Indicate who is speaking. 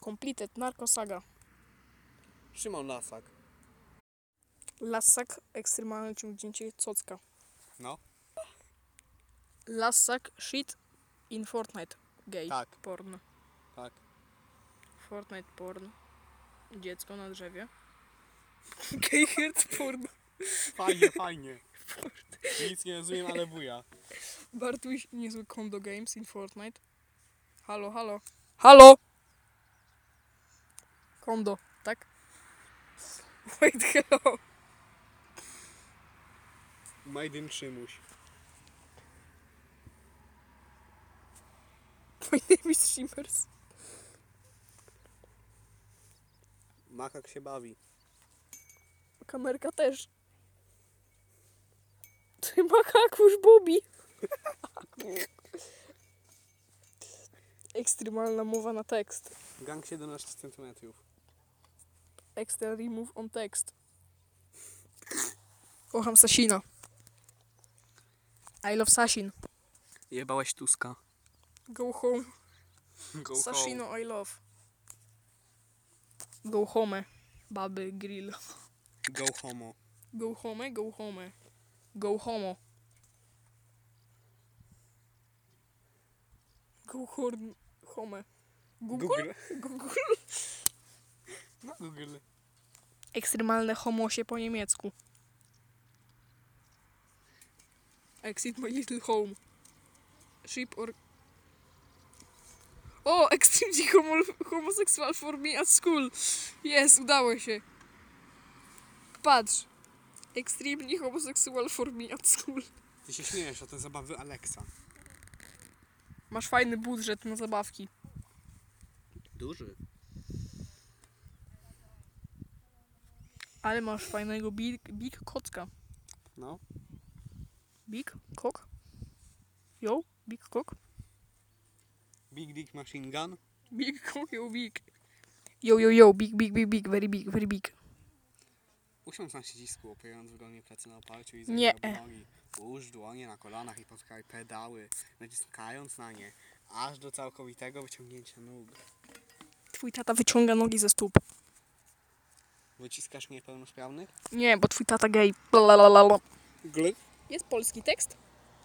Speaker 1: Completed Narcosaga.
Speaker 2: Szymon Lasak.
Speaker 1: Lasak, ekstremalne ciągnięcie cocka.
Speaker 2: No.
Speaker 1: Lasak, shit in Fortnite. Gay.
Speaker 2: Tak.
Speaker 1: Porn.
Speaker 2: Tak.
Speaker 1: Fortnite porn. Dziecko na drzewie. Gay hurt porn.
Speaker 2: Fajnie, fajnie. Nic nie rozumiem, ale buja.
Speaker 1: Bartuś, niezły kondo games in Fortnite. Halo, halo. Halo! Kondo, tak? Wait, hello.
Speaker 2: Made in Szymuś.
Speaker 1: My name is Shimmers.
Speaker 2: Makak się bawi.
Speaker 1: Kamerka też. Ty makakusz Bobby. Ekstremalna mowa na tekst.
Speaker 2: Gang 17 cm.
Speaker 1: Extra remove on tekst. Kocham Sasina. I love Sasin.
Speaker 2: Jebałaś Tuska.
Speaker 1: Go home.
Speaker 2: Go
Speaker 1: Sashino I love. Go home. Baby grill.
Speaker 2: Go homo.
Speaker 1: Go home, go home. Go homo. Go horn, home. Google? Google.
Speaker 2: No Google.
Speaker 1: Ekstremalne homosie po niemiecku. Exit my little home. Ship or... O! Extremely homo homosexual for me at school. Jest, udało się. Patrz. Extremely homosexual for me at school.
Speaker 2: Ty się śmiejesz o te zabawy Alexa.
Speaker 1: Masz fajny budżet na zabawki.
Speaker 2: Duży.
Speaker 1: Ale masz fajnego big, big kocka.
Speaker 2: No.
Speaker 1: Big kok? Yo, big kok?
Speaker 2: Big Dick Machine Gun.
Speaker 1: Big kok, yo, big. Yo, yo, yo, big, big, big, big, very big, very big.
Speaker 2: Usiądź na siedzisku, opierając wygodnie plecy na oparciu i
Speaker 1: Nie.
Speaker 2: zagrab nogi. Połóż dłonie na kolanach i potkaj pedały, naciskając na nie, aż do całkowitego wyciągnięcia nóg.
Speaker 1: Twój tata wyciąga nogi ze stóp.
Speaker 2: Wyciskasz niepełnosprawnych?
Speaker 1: Nie, bo twój tata gej. Blalalala.
Speaker 2: Gl.
Speaker 1: Jest polski tekst?